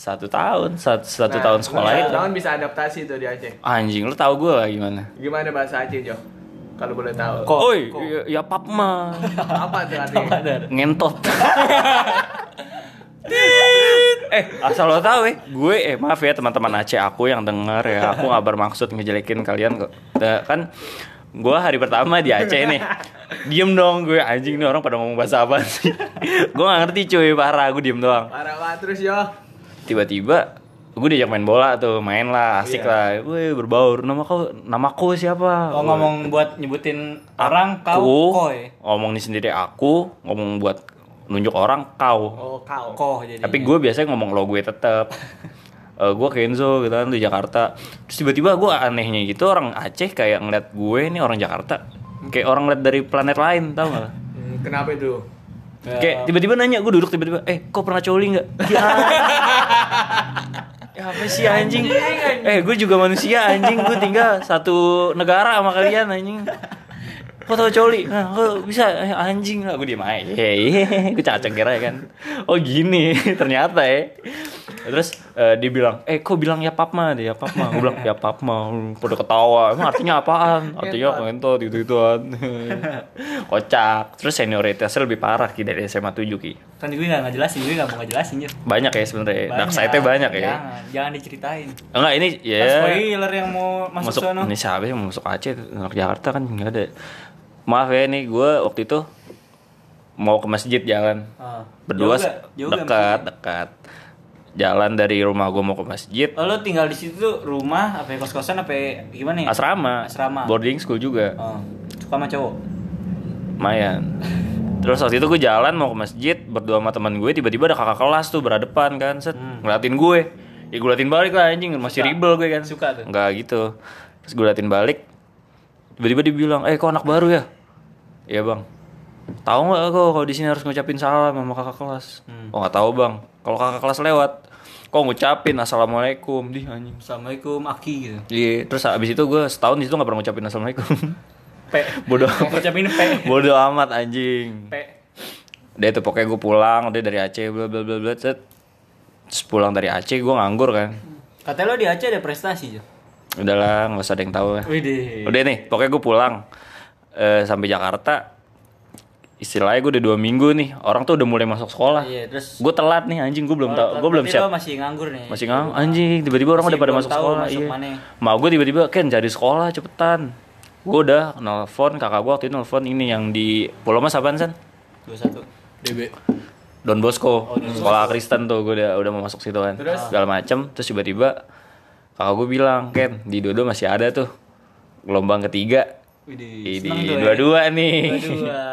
Satu tahun, satu, satu
Nah,
tahun
lu
sekolah
satu
itu.
tahun bisa adaptasi tuh di Aceh.
Anjing lu tahu gue lah gimana?
Gimana bahasa Aceh, Jo? Kalau boleh tahu.
Kok?
Oi, ya, ya pap mah
Apa tuh artinya?
ngentot. eh asal lo tahu eh gue eh maaf ya teman-teman Aceh aku yang dengar ya aku nggak bermaksud ngejelekin kalian kok Eh, kan gue hari pertama di Aceh nih diem dong gue anjing nih orang pada ngomong bahasa apa sih gue nggak ngerti cuy parah gue diem doang
Parah banget Nah, terus, Jo.
tiba-tiba gue diajak main bola tuh main
Iya.
lah asik lah gue berbaur nama kau namaku siapa Woi.
Lo Oh, ngomong buat nyebutin orang, kau,
Aku,
koy
ngomong ini sendiri aku ngomong buat nunjuk orang kau
Oh, kau.
Koh jadi ya.
tapi gue biasanya ngomong lo gue tetep Eh, gue Kenzo gitu kan di Jakarta terus tiba-tiba gue anehnya gitu orang Aceh kayak ngeliat gue nih orang Jakarta kayak orang ngeliat dari planet lain tau gak
Hmm, Kenapa itu?
Kayak tiba-tiba nanya gue duduk tiba-tiba, eh kok pernah coli nggak? Ya. Ya, apa sih anjing? Eh gue juga manusia anjing, gue tinggal satu negara sama kalian anjing. Kok tau coli? Nah, kok bisa Eh, anjing lah gue diem aja. Hehehe, gue cacing kira ya kan. Oh gini ternyata ya. Terus eh, dia bilang, eh kok bilang ya papma dia ya papma. Gue bilang ya papma, Hmm, pada ketawa. Emang artinya apaan? Artinya ngentot gitu gituan. Kocak. Terus senioritasnya lebih parah ki dari SMA 7 ki.
Kan gue gak ngejelasin, gue gak mau ngejelasin Jir.
Banyak ya sebenarnya. Dark side-nya banyak ya.
Jangan, jangan diceritain.
Enggak ini ya.
Kan Spoiler yang mau masuk,
masuk
sono.
ini siapa sih yang masuk Aceh anak Jakarta kan nggak ada maaf ya nih gue waktu itu mau ke masjid jalan
Ah.
berdua
Jauh gak? Jauh gak
dekat dekat jalan dari rumah gue mau ke masjid
Oh, lo tinggal di situ tuh rumah apa ya, kos-kosan apa ya, gimana ya?
asrama
Asrama.
boarding school juga
Oh, suka sama cowok.
lumayan terus waktu itu gue jalan mau ke masjid berdua sama teman gue tiba-tiba ada kakak kelas tuh berhadapan kan set ngeliatin gue ya gue liatin balik lah anjing masih ribel gue kan
Hmm. Suka tuh.
Enggak gitu. Terus gue liatin balik. Tiba-tiba dibilang, "Eh, kok anak baru ya?" Iya, Bang. Tahu nggak kok kalau di sini harus ngucapin salam sama kakak kelas? Oh, nggak tahu, Bang. Kalau kakak kelas lewat, kok ngucapin assalamualaikum di anjing.
Assalamualaikum Aki gitu.
Iya, terus abis itu gue setahun di situ nggak pernah ngucapin assalamualaikum.
P.
bodoh,
Ngucapin P.
bodoh amat anjing.
P.
Dia tuh pokoknya gue pulang, dia dari Aceh, bla bla bla bla. set. Terus pulang dari Aceh gue nganggur kan.
Katanya lo di Aceh ada prestasi, Jo.
Udahlah, nggak usah ada yang tahu ya.
Widih.
Udah nih, pokoknya gue pulang eh, sampai Jakarta. Istilahnya gue udah dua minggu nih, orang tuh udah mulai masuk sekolah.
Iya, terus
Gue telat nih, anjing gue belum
Tapi
tau, gue belum
lo
siap.
masih nganggur nih.
Masih ngang, anjing tiba-tiba orang
Masih
udah pada
belum
masuk
tahu
sekolah.
masuk
iya.
mana.
Mak gue tiba-tiba Ken cari sekolah cepetan. Gue udah nelfon kakak gue waktu itu nelfon ini yang di Pulau Mas apaan San?
21.
DB.
Don
Oh,
Bosco, sekolah Kristen tuh gue udah udah mau masuk situ kan. segala macem terus tiba-tiba kakak gue bilang, "Ken, di Dodo masih ada tuh gelombang ketiga."
Widih.
Ini
Seneng tuh ya.
dua-dua nih. eh?
Dua-dua.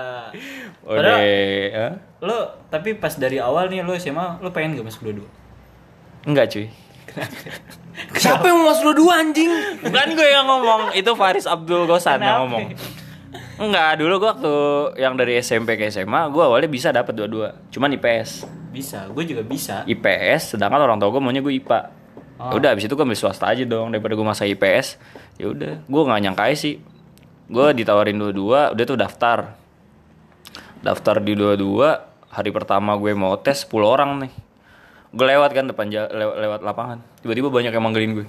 Udah.
Padahal lo tapi pas dari awal nih lo SMA lo pengen gak masuk dua-dua?
Enggak cuy.
Siapa yang mau masuk dua-dua anjing?
Bukan gue yang ngomong, itu Faris Abdul Gosan yang ngomong. Enggak, dulu gue waktu yang dari SMP ke SMA, gue awalnya bisa dapat dua-dua. Cuman IPS.
Bisa, gue juga bisa.
IPS, sedangkan orang tua gue maunya gue IPA. Ya
Oh.
Udah, abis itu gue ambil swasta aja dong, daripada gue masa IPS. Ya udah, gue nggak nyangka aja sih. Gue ditawarin dua-dua, udah tuh daftar. Daftar di dua-dua, hari pertama gue mau tes 10 orang nih. Gue lewat kan depan ja- lew- lewat lapangan. Tiba-tiba banyak yang manggilin gue.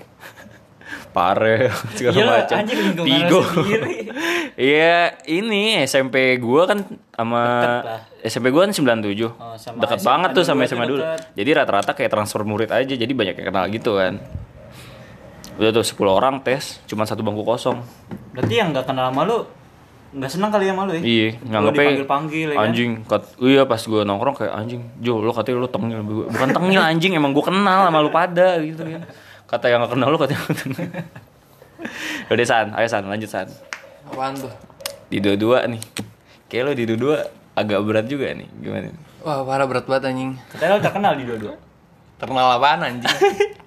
Pare,
Iya lah,
segala macam.
anjing lingkungan lu
Tigo.
sendiri.
Iya, ini SMP gue kan sama
Deket lah.
SMP gue kan 97
Oh, sama
deket
SMA
banget tuh sama
dulu
SMA
tuh
dulu.
deket.
Jadi rata-rata kayak transfer murid aja, jadi banyak yang kenal gitu kan. Udah tuh 10 orang tes, cuma satu bangku kosong.
Berarti yang gak kenal sama lo Gak senang kali sama lo ya?
Iya, nganggepnya
dipanggil-panggil ya kan?
anjing. Kat, iya pas gue nongkrong kayak anjing, Jo lo katanya lo tengil, Bu- bukan tengil anjing, emang gue kenal sama lu pada gitu kan. Kata yang gak kenal lo katanya lu tengil. Udah San, ayo San, lanjut San.
Apaan tuh?
Di dua-dua nih. Kayak lo di dua-dua agak berat juga nih, gimana? nih?
Wah, parah berat banget anjing.
Katanya lo terkenal di dua-dua
Terkenal apaan anjing?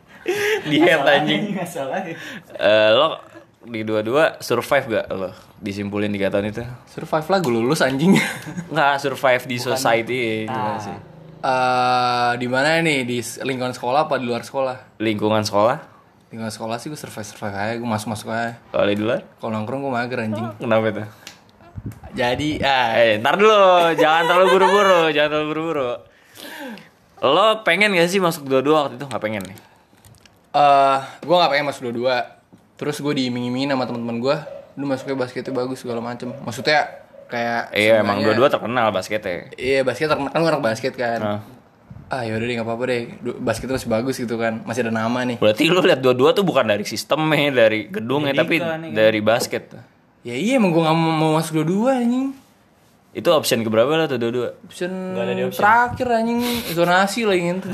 Diet anjing.
Gak salah ya
Eh, lo di dua-dua survive gak lo disimpulin tiga tahun itu?
Survive lah gue lulus anjing.
Nggak survive di society gimana sih?
Eh, di mana nih? Di s- lingkungan sekolah apa di luar sekolah?
Lingkungan sekolah?
Lingkungan sekolah sih gue survive survive aja, gue masuk masuk aja.
Kalau di luar?
Kalau nongkrong gue mager anjing.
Kenapa itu?
Jadi, ah,
Eh, ntar dulu, jangan terlalu buru-buru, jangan terlalu buru-buru. Lo pengen gak sih masuk dua-dua waktu itu? Nggak pengen nih.
eh gue nggak pengen masuk dua-dua. Terus gue diiming-imingin sama teman-teman gue, lu masuknya basketnya bagus segala macem. Maksudnya kayak
Iya, emang
seenggaknya-
dua-dua terkenal basketnya.
Iya basket terkenal kan gue anak basket kan.
Nah.
Ah yaudah deh nggak apa-apa deh. Du- Basket masih bagus gitu kan. Masih ada nama nih.
Berarti lo lihat dua-dua tuh bukan dari sistemnya, dari gedungnya, tapi dari basket.
Ya iya emang gue nggak mau, mau masuk dua-dua anjing.
Itu option keberapa lo tuh dua-dua?
Option, terakhir anjing zonasi lagi gitu.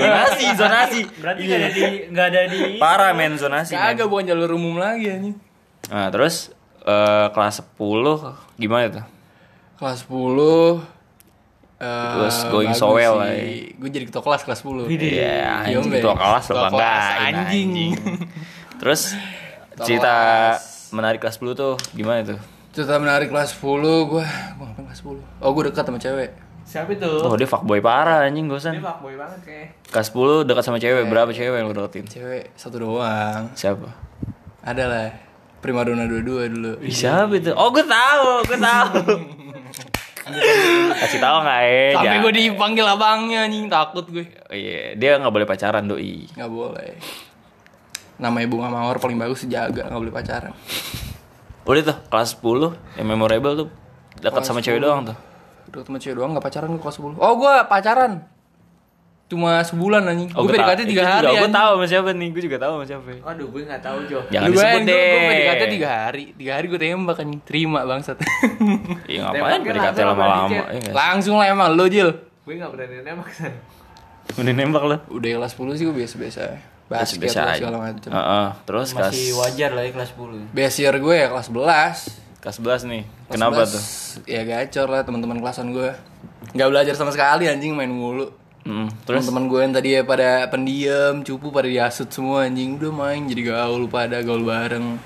Zonasi, zonasi.
Berarti gak ada di Gak ada di
Parah men zonasi. men.
Kagak bukan jalur umum lagi anjing.
Nah, terus eh, kelas 10 gimana tuh?
Kelas eh, 10
was going so well, eh.
Gue jadi ketua kelas kelas
Iya,
10 Iya,
anjing
men.
ketua kelas lo
Ketua kelas,
banggain
anjing.
anjing. Terus cerita menarik kelas 10 tuh gimana tuh?
Cerita menarik kelas 10 gua gua ngapain kelas 10? Oh, gua dekat sama cewek.
Siapa itu?
Oh dia fuckboy parah anjing gak usah
Dia fuckboy banget kayak.
Kelas 10 dekat sama cewek
Iya.
Berapa cewek yang lu deketin?
Cewek satu doang.
Siapa?
Ada lah. Primadona 22 dulu.
Ih, Siapa itu? Oh gue tahu, gue tahu. Kasih tahu nggak eh?
Sampai
jangan.
gua dipanggil abangnya anjing, takut gue.
Oh, Iya, dia nggak boleh pacaran doi.
Nggak boleh. Namanya bunga mawar paling bagus dijaga, nggak boleh pacaran.
Udah tuh kelas 10 yang memorable tuh dekat sama cewek doang tuh.
Udah temen cewek doang nggak pacaran gua kelas 10. Oh, gua pacaran. Cuma sebulan anjing.
Oh,
gua
gua
PDKT
ta-
3
itu juga
hari.
Gue
anjing.
tahu sama siapa nih, gue juga tahu sama siapa.
Aduh, gue nggak tahu Jo.
Jangan
Lu
disebut
bayangin,
deh.
Gue, gue PDKT 3 hari. 3 hari gue tembak anjing. Terima bangsat.
Iya ngapain
Tembak kan
PDKT
langsung
lama-lama.
sama
Iya, nggak sih?
Langsung lah emang lo Jil.
Gue nggak berani nembak kan.
Udah nembak lo.
Udah kelas 10 sih gue biasa-biasa. aja. Basket
Biasa
lah,
aja. Oh.
segala macam.
Heeh, terus kelas
Masih wajar lah ya kelas 10.
Best year gue ya kelas 11.
kelas 11 nih.
Kelas
Kenapa
11,
tuh?
Ya gacor lah teman-teman kelasan gue. Gak belajar sama sekali anjing main mulu.
Mm, terus
Teman-teman gue yang tadi ya pada pendiam, cupu pada diasut semua anjing udah main jadi gaul pada gaul bareng.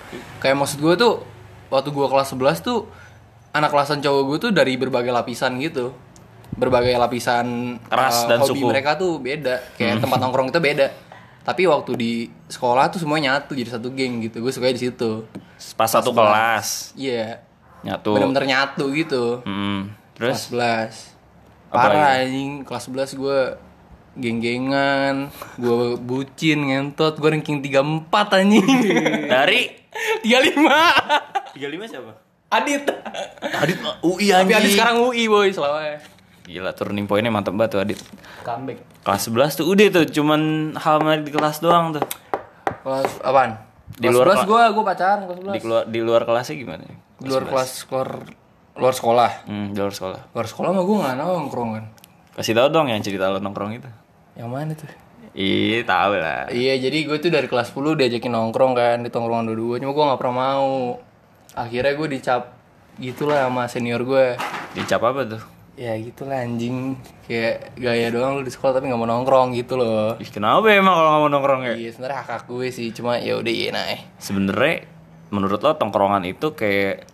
Kayak maksud gue tuh waktu gue kelas 11 tuh anak kelasan cowok gue tuh dari berbagai lapisan gitu. Berbagai lapisan
Ras
eh,
dan
hobi
suku. Hmm.
mereka tuh beda. Kayak tempat nongkrong kita beda. Tapi waktu di sekolah tuh semua nyatu jadi satu geng gitu. Gue suka di situ.
pas satu kelas
Iya.
nyatu.
Bener-bener nyatu gitu.
Mm, terus
Kelas 11
Apa
Parah anjing Kelas 11 gue Geng-gengan Gue bucin Ngentot Gue ranking 34 anjing
dari
35
35 siapa?
Adit
Adit uh, UI
Tapi Adit sekarang UI boy Selawai
Gila turning pointnya mantep banget tuh Adit
Comeback.
Kelas 11 tuh udah tuh cuman hal menarik di kelas doang tuh
Kelas apaan?
Di
Di
luar
kelas
kela-
11 gue Gue pacaran kelas
di keluar di luar kelasnya gimana?
11 Di luar kelas Keluar Luar sekolah
Hmm, di luar sekolah.
Luar sekolah mah gue gak nongkrong kan
Kasih tahu dong yang cerita lo nongkrong itu.
Yang mana tuh?
Ih, tahu lah.
Iya jadi gue tuh dari kelas 10 diajakin nongkrong kan di tongkrongan dua-dua Cuma gue gak pernah mau Akhirnya gue dicap gitulah sama senior gue
Dicap apa tuh?
Ya gitulah anjing Kayak gaya doang lu di sekolah tapi gak mau nongkrong gitu loh
Ih, kenapa emang kalau nggak mau nongkrong ya?
Iya sebenernya hak hak gue sih Cuma ya udah iya nah eh.
Sebenernya menurut lo tongkrongan itu kayak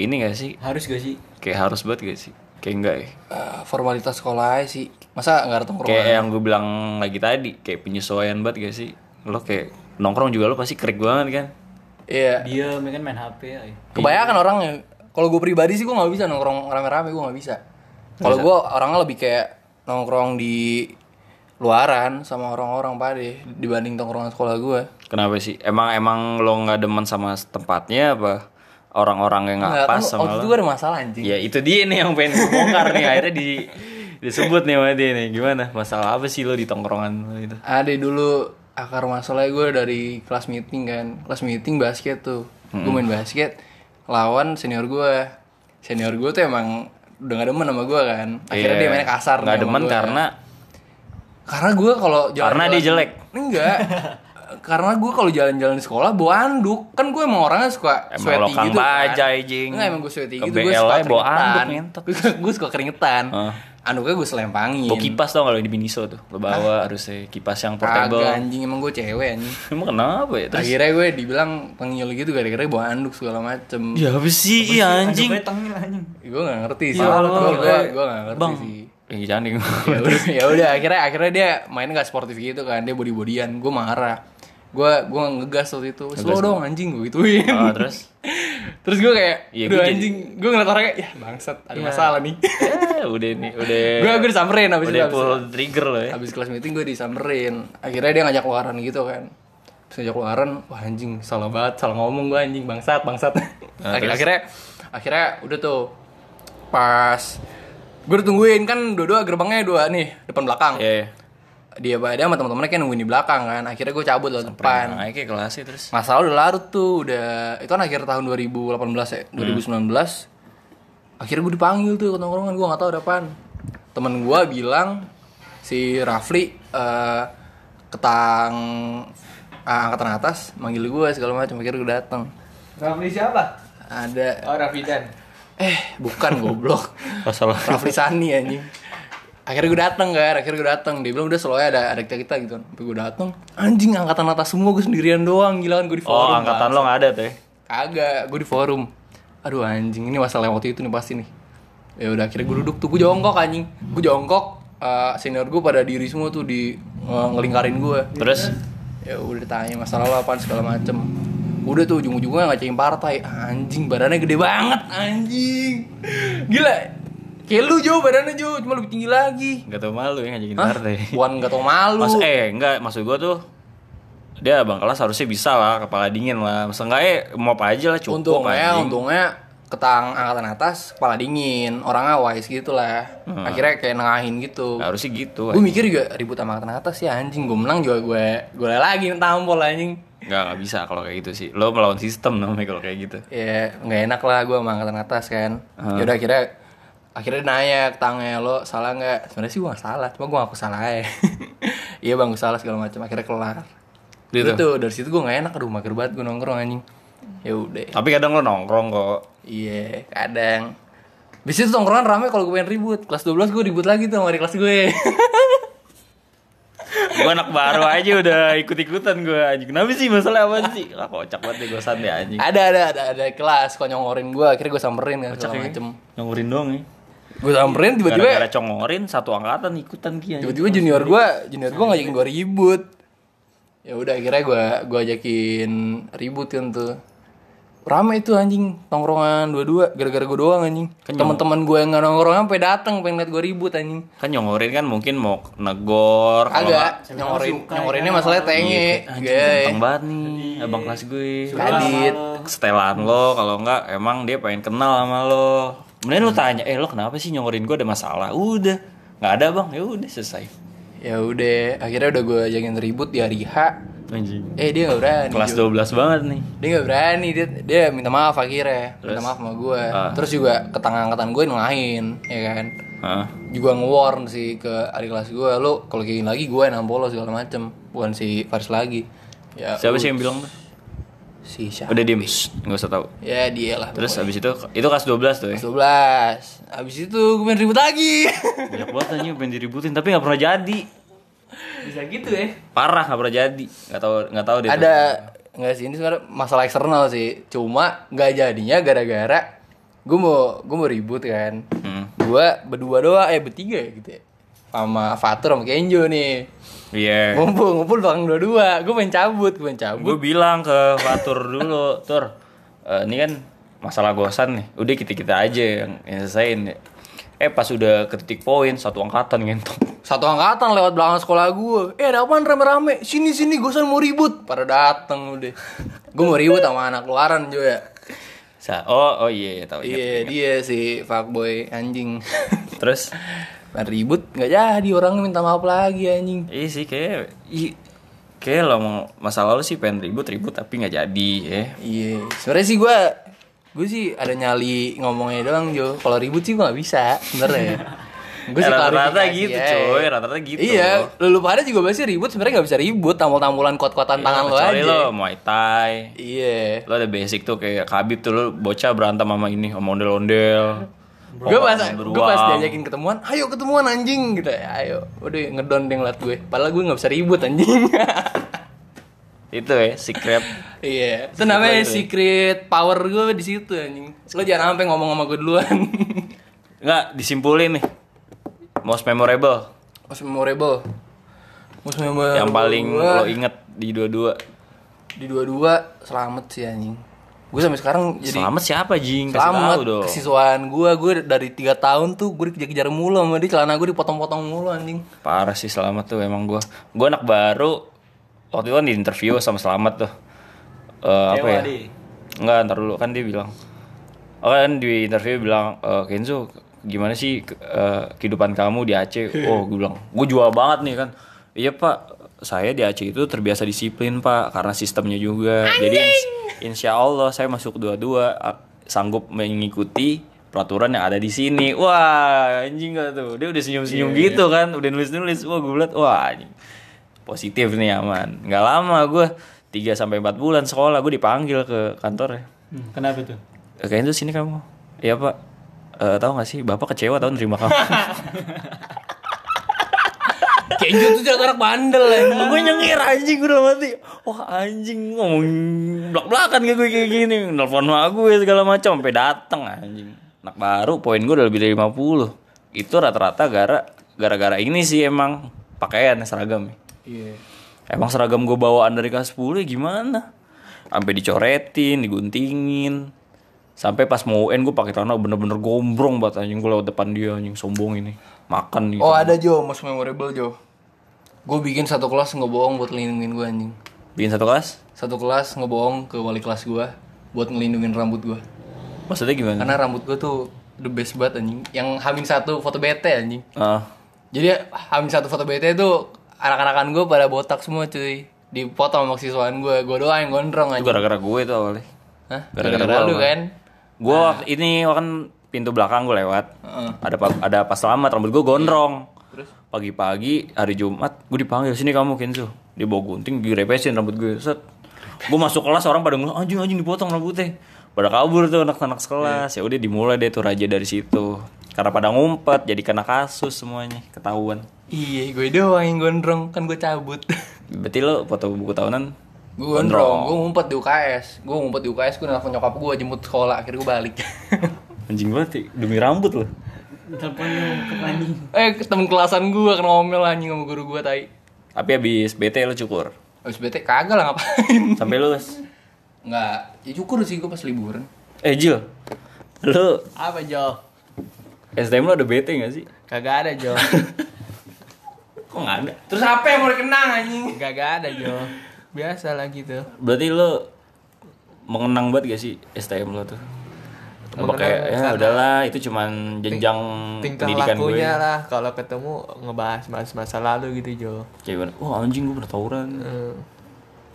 ini gak sih?
Harus gak sih?
Kayak harus banget gak sih? Kayak enggak ya?
Eh, Formalitas sekolah aja sih Masa gak ada
Kayak
tongkrongan?
yang gue bilang lagi tadi, kayak penyesuaian banget gak sih? Lo kayak nongkrong juga lo pasti krik banget kan?
Iya
Dia kan main HP ya.
Kebanyakan orang yang kalau gue pribadi sih gue gak bisa nongkrong rame-rame gue gak bisa Kalau gue orangnya lebih kayak nongkrong di luaran sama orang-orang pade dibanding tongkrongan sekolah gue
Kenapa sih? Emang emang lo nggak demen sama tempatnya apa? Orang-orang yang nggak
Nggak,
pas
kan
sama
waktu
lo?
itu gue ada masalah anjing
Ya itu dia nih yang pengen gue bongkar nih akhirnya di disebut nih sama dia nih gimana masalah apa sih lo di tongkrongan lo itu
Ada dulu akar masalahnya gue dari kelas meeting kan Kelas meeting basket tuh Gue main basket lawan senior gue Senior gue tuh emang udah gak demen sama gue kan Akhirnya
Iya.
dia mainnya kasar nih
nggak
sama
demen
gua. ya.
karena
Karena gue kalau jalan
Karena dia jelek?
Enggak Karena gue kalau jalan-jalan di sekolah bawa anduk Kan gue emang orangnya suka
Emang
sweaty
lokang
gitu kan
bajai, Jing.
Enggak emang gue sweaty
Ke
gitu Gue suka
BL-nya bawa anduk,
keringetan
ngentot.
Gue suka keringetan
Heeh.
Anduknya gue selempangin
bawa kipas tau kalau di Miniso tuh lo bawa harusnya kipas yang portable
Kagak anjing emang gue cewek anjing
emang kenapa ya terus
akhirnya gue dibilang tengil gitu gara-gara bawa anduk segala macem
ya apa sih iya, anjing
Gue tengil anjing.
gue gak ngerti sih
Ya
gue
Allah,
gue
eh,
gue gak ngerti
bang
sih
yang cantik
ya udah ya udah akhirnya akhirnya dia main gak sportif gitu kan dia body bodian gue marah gue gue ngegas waktu itu slow dong anjing gue gituin
Ah, terus
terus gue kayak
Iya,
udah
gue jadi- Iya.
anjing gue ngeliat orangnya ya bangsat ada masalah nih
Eh, udah nih udah
gue gue disamperin abis itu
udah
abis,
full trigger lo ya
abis kelas meeting gue disamperin akhirnya dia ngajak keluaran gitu kan Terus ngajak keluaran wah anjing salah banget salah ngomong gue anjing bangsat bangsat
Nah,
akhirnya, akhirnya akhirnya udah tuh pas gue udah tungguin kan dua-dua gerbangnya dua nih depan belakang
ya ya.
dia dia sama teman-temannya kayak nungguin di belakang kan akhirnya gue cabut lah depan
Nah, kayak kelasnya terus
masalah udah larut tuh udah itu kan akhir tahun 2018 ya 2019 akhirnya gue dipanggil tuh ke tongkrongan gue nggak tahu ada apaan temen gue bilang si Rafli eh, ketang eh, angkatan atas manggil gue segala macam akhirnya gue datang
Rafli siapa?
ada
Oh, Rafidan.
eh bukan goblok
masalah
Rafli Sani anjing akhirnya gue dateng kan akhirnya gue dateng dia bilang udah selalu ada ada kita kita gitu tapi gue dateng anjing angkatan atas semua gue sendirian doang gila kan gue di
oh
forum
angkatan lo nggak ada tuh ya?
kagak gue di forum aduh anjing ini masalah yang waktu itu nih pasti nih ya udah akhirnya gue duduk tuh gue jongkok anjing gue jongkok eh, senior gue pada diri semua tuh di eh, ngelingkarin gue
Terus
ya udah ditanya masalah lo apaan segala macem udah tuh ujung-ujungnya ngacain partai anjing badannya gede banget anjing gila kayak lu Jo badannya Jo cuma lebih tinggi lagi
nggak tau malu ya ngajakin
Hah?
partai.
bukan gak tau malu
Mas eh enggak maksud gua tuh dia bang kelas harusnya bisa lah kepala dingin lah. Masa enggak eh mau apa aja lah cukup
untungnya
anjing.
untungnya ketang angkatan atas kepala dingin orangnya wise gitu lah
Hmm.
akhirnya kayak nengahin gitu
Harusnya gitu.
gue mikir juga ribut sama angkatan atas ya anjing gue menang juga gue gue lagi tampol anjing
Enggak enggak bisa kalau kayak gitu sih. Lo melawan sistem namanya kalau kayak gitu.
ya nggak enak lah gue sama angkatan atas kan yaudah akhirnya akhirnya dia nanya ke tangnya lo salah nggak sebenarnya sih gue nggak salah cuma gue ngaku salah ya iya bang gue salah segala macam akhirnya kelar
Gitu.
gitu dari situ gue nggak enak aduh mager banget gue nongkrong anjing ya udah
Tapi kadang lo nongkrong kok.
iya kadang Biasanya tuh nongkrongan rame kalau gue pengen ribut Kelas 12 gue ribut lagi tuh sama adik kelas gue
Gue anak baru aja udah ikut-ikutan gue anjing. Kenapa sih masalah apa sih? Lah kocak banget deh gue santai anjing.
Ada ada ada ada kelas Kok nyongorin gue Akhirnya gue samperin kan segala macem
Nyongorin doang ya.
Gue samperin tiba-tiba
Gara-gara congorin satu angkatan ikutan kia.
tiba-tiba junior gue junior gue ngajakin gue ribut ya udah akhirnya gue gue ajakin ribut kan tuh rame itu anjing tongkrongan dua-dua gara-gara gue doang anjing teman-teman gue yang nggak nongkrong sampai datang pengen liat gue ribut anjing
Kan nyongorin kan mungkin mau negor kalau nggak-
agak nyorin
ya,
nyorinnya masalah tenge
Ganteng
gay
banget nih abang kelas gue
kadit
setelan lo kalau enggak emang dia pengen kenal sama lo Mending lo tanya eh lo kenapa sih nyongorin gue ada masalah udah nggak ada bang ya udah selesai
ya udah akhirnya udah gue ajakin ribut di hari H
anjing
eh dia nggak berani
kelas
Jo.
12 banget nih
dia nggak berani dia dia minta maaf akhirnya minta maaf sama gue
Ah.
terus juga ke tangan angkatan gue nengahin ya kan
Hah?
juga nge-warn sih ke adik kelas gue lo kalau kayak gini lagi gue yang nampol lo segala macem bukan si Faris lagi ya
siapa sih yang bilang tuh
si siapa
Ya. udah diem shh, nggak usah tahu
ya dia lah
terus abis itu itu kelas 12 tuh ya
12 abis itu gue main ribut lagi
banyak banget anjing pengen diributin tapi nggak pernah jadi
bisa gitu
eh.
ya
parah nggak pernah jadi nggak tahu nggak tahu deh tuh.
ada nggak sih ini sebenarnya masalah eksternal sih cuma nggak jadinya gara-gara gue mau gue mau ribut kan
Hmm.
gue berdua doang eh bertiga ya gitu ya sama Fatur sama Kenjo nih
iya
ngumpul ngumpul doang dua-dua gue main cabut gue main cabut
gue bilang ke Fatur dulu Tur eh, ini kan masalah gosan nih udah kita kita aja yang, yang selesaiin ya. eh pas udah ke titik poin satu angkatan ngentot
Satu angkatan lewat belakang sekolah gue. Eh ada apaan rame-rame? Sini sini gosan mau ribut. Pada dateng udah. gue mau ribut sama anak luaran ya. juga.
Sa- oh oh iya iya, tahu
Iya
iya
dia si fuckboy anjing.
terus
Nah, ribut nggak jadi orang minta maaf lagi anjing.
iya sih kayak i kayak lo mau masalah lo sih pengen ribut ribut tapi nggak jadi ya
Iya. Sebenarnya sih gue gue sih ada nyali ngomongnya doang Jo. Kalau ribut sih gue nggak bisa sebenarnya. Gue
Eh, rata-rata
klarifikasi
gitu,
aja.
coy. Rata-rata gitu.
Iya, lu lupa ada juga pasti ribut sebenarnya nggak bisa ribut, tampol-tampolan kot-kotan tangan
Iya,
lo
kecuali
aja.
lo muay thai
Iya.
lo ada basic tuh kayak kabib tuh lo bocah berantem sama ini sama ondel ondel
gue pas gue pas diajakin ketemuan ayo ketemuan anjing gitu ya ayo udah ngedon dia ngeliat gue padahal gue nggak bisa ribut anjing
itu ya secret
iya itu namanya secret power gue di situ anjing lo jangan sampai ngomong sama gue duluan
Nggak, disimpulin nih. Most memorable.
most memorable most memorable
yang paling
gua
lo inget di dua-dua.
di dua-dua selamat sih anjing gue sampai sekarang jadi
Selamat siapa, Jing? Kasih
selamat
tahu dong.
kesiswaan gue gue dari tiga tahun tuh gue dikejar-kejar mulu sama dia celana gue dipotong-potong mulu anjing
Parah sih selamat tuh emang gua. Gua anak baru. Waktu itu kan di interview sama selamat tuh. Eh, apa ya? Enggak, ntar dulu kan dia bilang. Oh, kan di interview bilang, "Eh, Kenzo, gimana sih ke- eh, kehidupan kamu di Aceh? Oh, gue bilang, gue jual banget nih kan. Iya pak, saya di Aceh itu terbiasa disiplin pak, karena sistemnya juga. Jadi ins- insya Allah saya masuk dua-dua, a- sanggup mengikuti peraturan yang ada di sini. Wah, anjing gak tuh? Dia udah senyum-senyum gitu kan, udah nulis-nulis. Wah, gue liat, wah anjing. Positif nih aman. Nggak lama gue 3 sampai 4 bulan sekolah gue dipanggil ke kantor ya.
Hmm, kenapa tuh?
Kayaknya tuh sini kamu. Iya pak. Eh tahu gak sih bapak kecewa tahu nerima kamu.
Kenjo tuh anak bandel anjing
gue nyengir anjing gue udah mati. wah anjing ngomong belak belakan kayak gue kayak gini nelfon sama gue segala macam sampai dateng anjing anak baru poin gue udah lebih dari 50 itu rata-rata gara gara-gara ini sih emang pakaian seragam ya.
Iya.
emang seragam gue bawaan dari kelas 10 ya gimana sampai dicoretin diguntingin sampai pas mau UN gue pakai celana bener-bener gombrong banget anjing gue lewat depan dia anjing sombong ini makan gitu
Oh ada Jo, most memorable Jo. Gue bikin satu kelas nggak bohong buat ngelindungin gue anjing.
bikin satu kelas
Satu kelas ngebohong ke wali kelas gue buat ngelindungin rambut gue.
maksudnya gimana
Karena rambut gue tuh the best banget anjing. Yang hamin satu foto bete anjing.
Ah.
Jadi hamin satu foto bete itu anak-anakan gue pada botak semua cuy. Dipotong sama siswaan gue, gue doang yang gondrong
Itu
anjing.
gara-gara gue tuh awalnya.
Hah?
gara-gara
Gara-gara
gua
lu
apa?
kan?
Gue waktu ini kan pintu belakang gue lewat.
Hmm.
Ada pa- ada pas selamat rambut gue gondrong. Pagi-pagi hari Jumat gue dipanggil sini kamu Kenzo. Dia bawa gunting direpesin rambut gue. Set. Gue masuk kelas orang pada ngomong anjing anjing dipotong rambutnya. Pada kabur tuh anak-anak sekelas. Ya udah dimulai deh tuh raja dari situ. Karena pada ngumpet jadi kena kasus semuanya ketahuan.
Iya, gue doang yang gondrong kan gue cabut.
Berarti lo foto buku tahunan
gue gondrong, gue ngumpet di UKS. Gue ngumpet di UKS, gue nelfon nyokap gue jemput sekolah, akhirnya gue balik.
anjing banget ya, demi rambut lo.
Telepon yang ke anjing.
eh, ketemu kelasan gue kena omel anjing sama guru gue tai.
Tapi habis BT lo cukur.
Habis bete kagak lah ngapain.
Sampai lulus.
Enggak, ya cukur sih gue pas liburan.
Eh Jil, lu
Apa Jo?
STM lu ada BT gak sih?
Kagak ada Jo.
Kok gak ada?
Terus apa yang mau dikenang anjing?
Kagak ada Jo. Biasa lah gitu.
Berarti lu mengenang banget gak sih STM lu tuh? Apa
Mengenang
kayak, ya
karena-
udahlah itu cuman jenjang Hmm,
Tingkah
pendidikan ya. gue
lakunya lah kalau ketemu ngebahas mas- masa lalu gitu Jo.
Kayak gimana? Wah anjing gue pernah tawuran
Eh,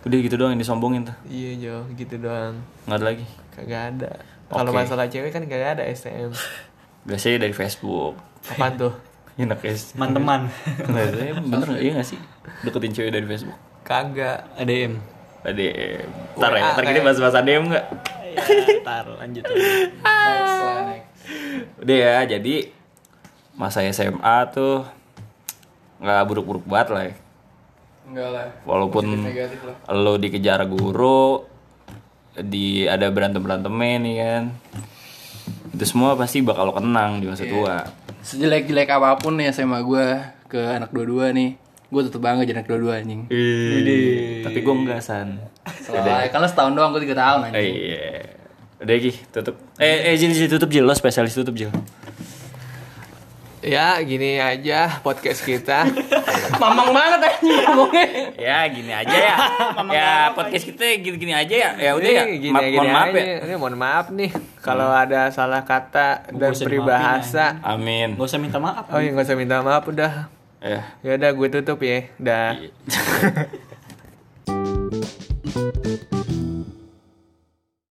Udah gitu doang yang disombongin tuh
iya Jo, gitu doang.
Gak ada lagi
Kagak ada. Kalau
Oke.
masalah cewek kan kagak ada STM.
Biasanya dari Facebook
Apaan tuh?
Enak ya STM.
Teman-teman.
Nah, saya bener gak? Iya gak sih? Deketin cewek dari Facebook
Kagak.
ADM.
ADM Ntar ya,
WA
ntar kita
kayak-
bahas-bahas ADM gak?
Ya, tar lanjut.
Next lah, next.
Udah ya, jadi masa SMA tuh nggak buruk-buruk banget lah ya.
Enggak lah.
Walaupun
Negatif lah.
lo dikejar guru, di ada berantem berantemnya nih kan. Itu semua pasti bakal lo kenang di masa tua.
Sejelek-jelek apapun ya SMA gue ke anak dua-dua nih. Gue tetep bangga jadi anak dua-dua anjing.
Ih, Tapi gue enggak san.
Soalnya kalau setahun doang gue tiga tahun anjing.
Eh, Iya. Udah Gi, tutup. Eh, eh Jil, Jil, tutup Jil, lo spesialis tutup Jil.
Ya gini aja podcast kita.
Mamang banget
eh.
anjing ngomongnya.
Ya gini aja ya. ya podcast kita gini-gini aja ya. Ya udah ya.
Ini
Ma- mohon maaf
Iya, aja.
ya. Hmm.
Ini mohon maaf nih kalau ada salah kata dan
usah
peribahasa.
Amin. Eh.
Gak usah minta maaf.
Oh ya nggak usah minta maaf udah.
Ya.
Ya udah gue tutup ya. Dah.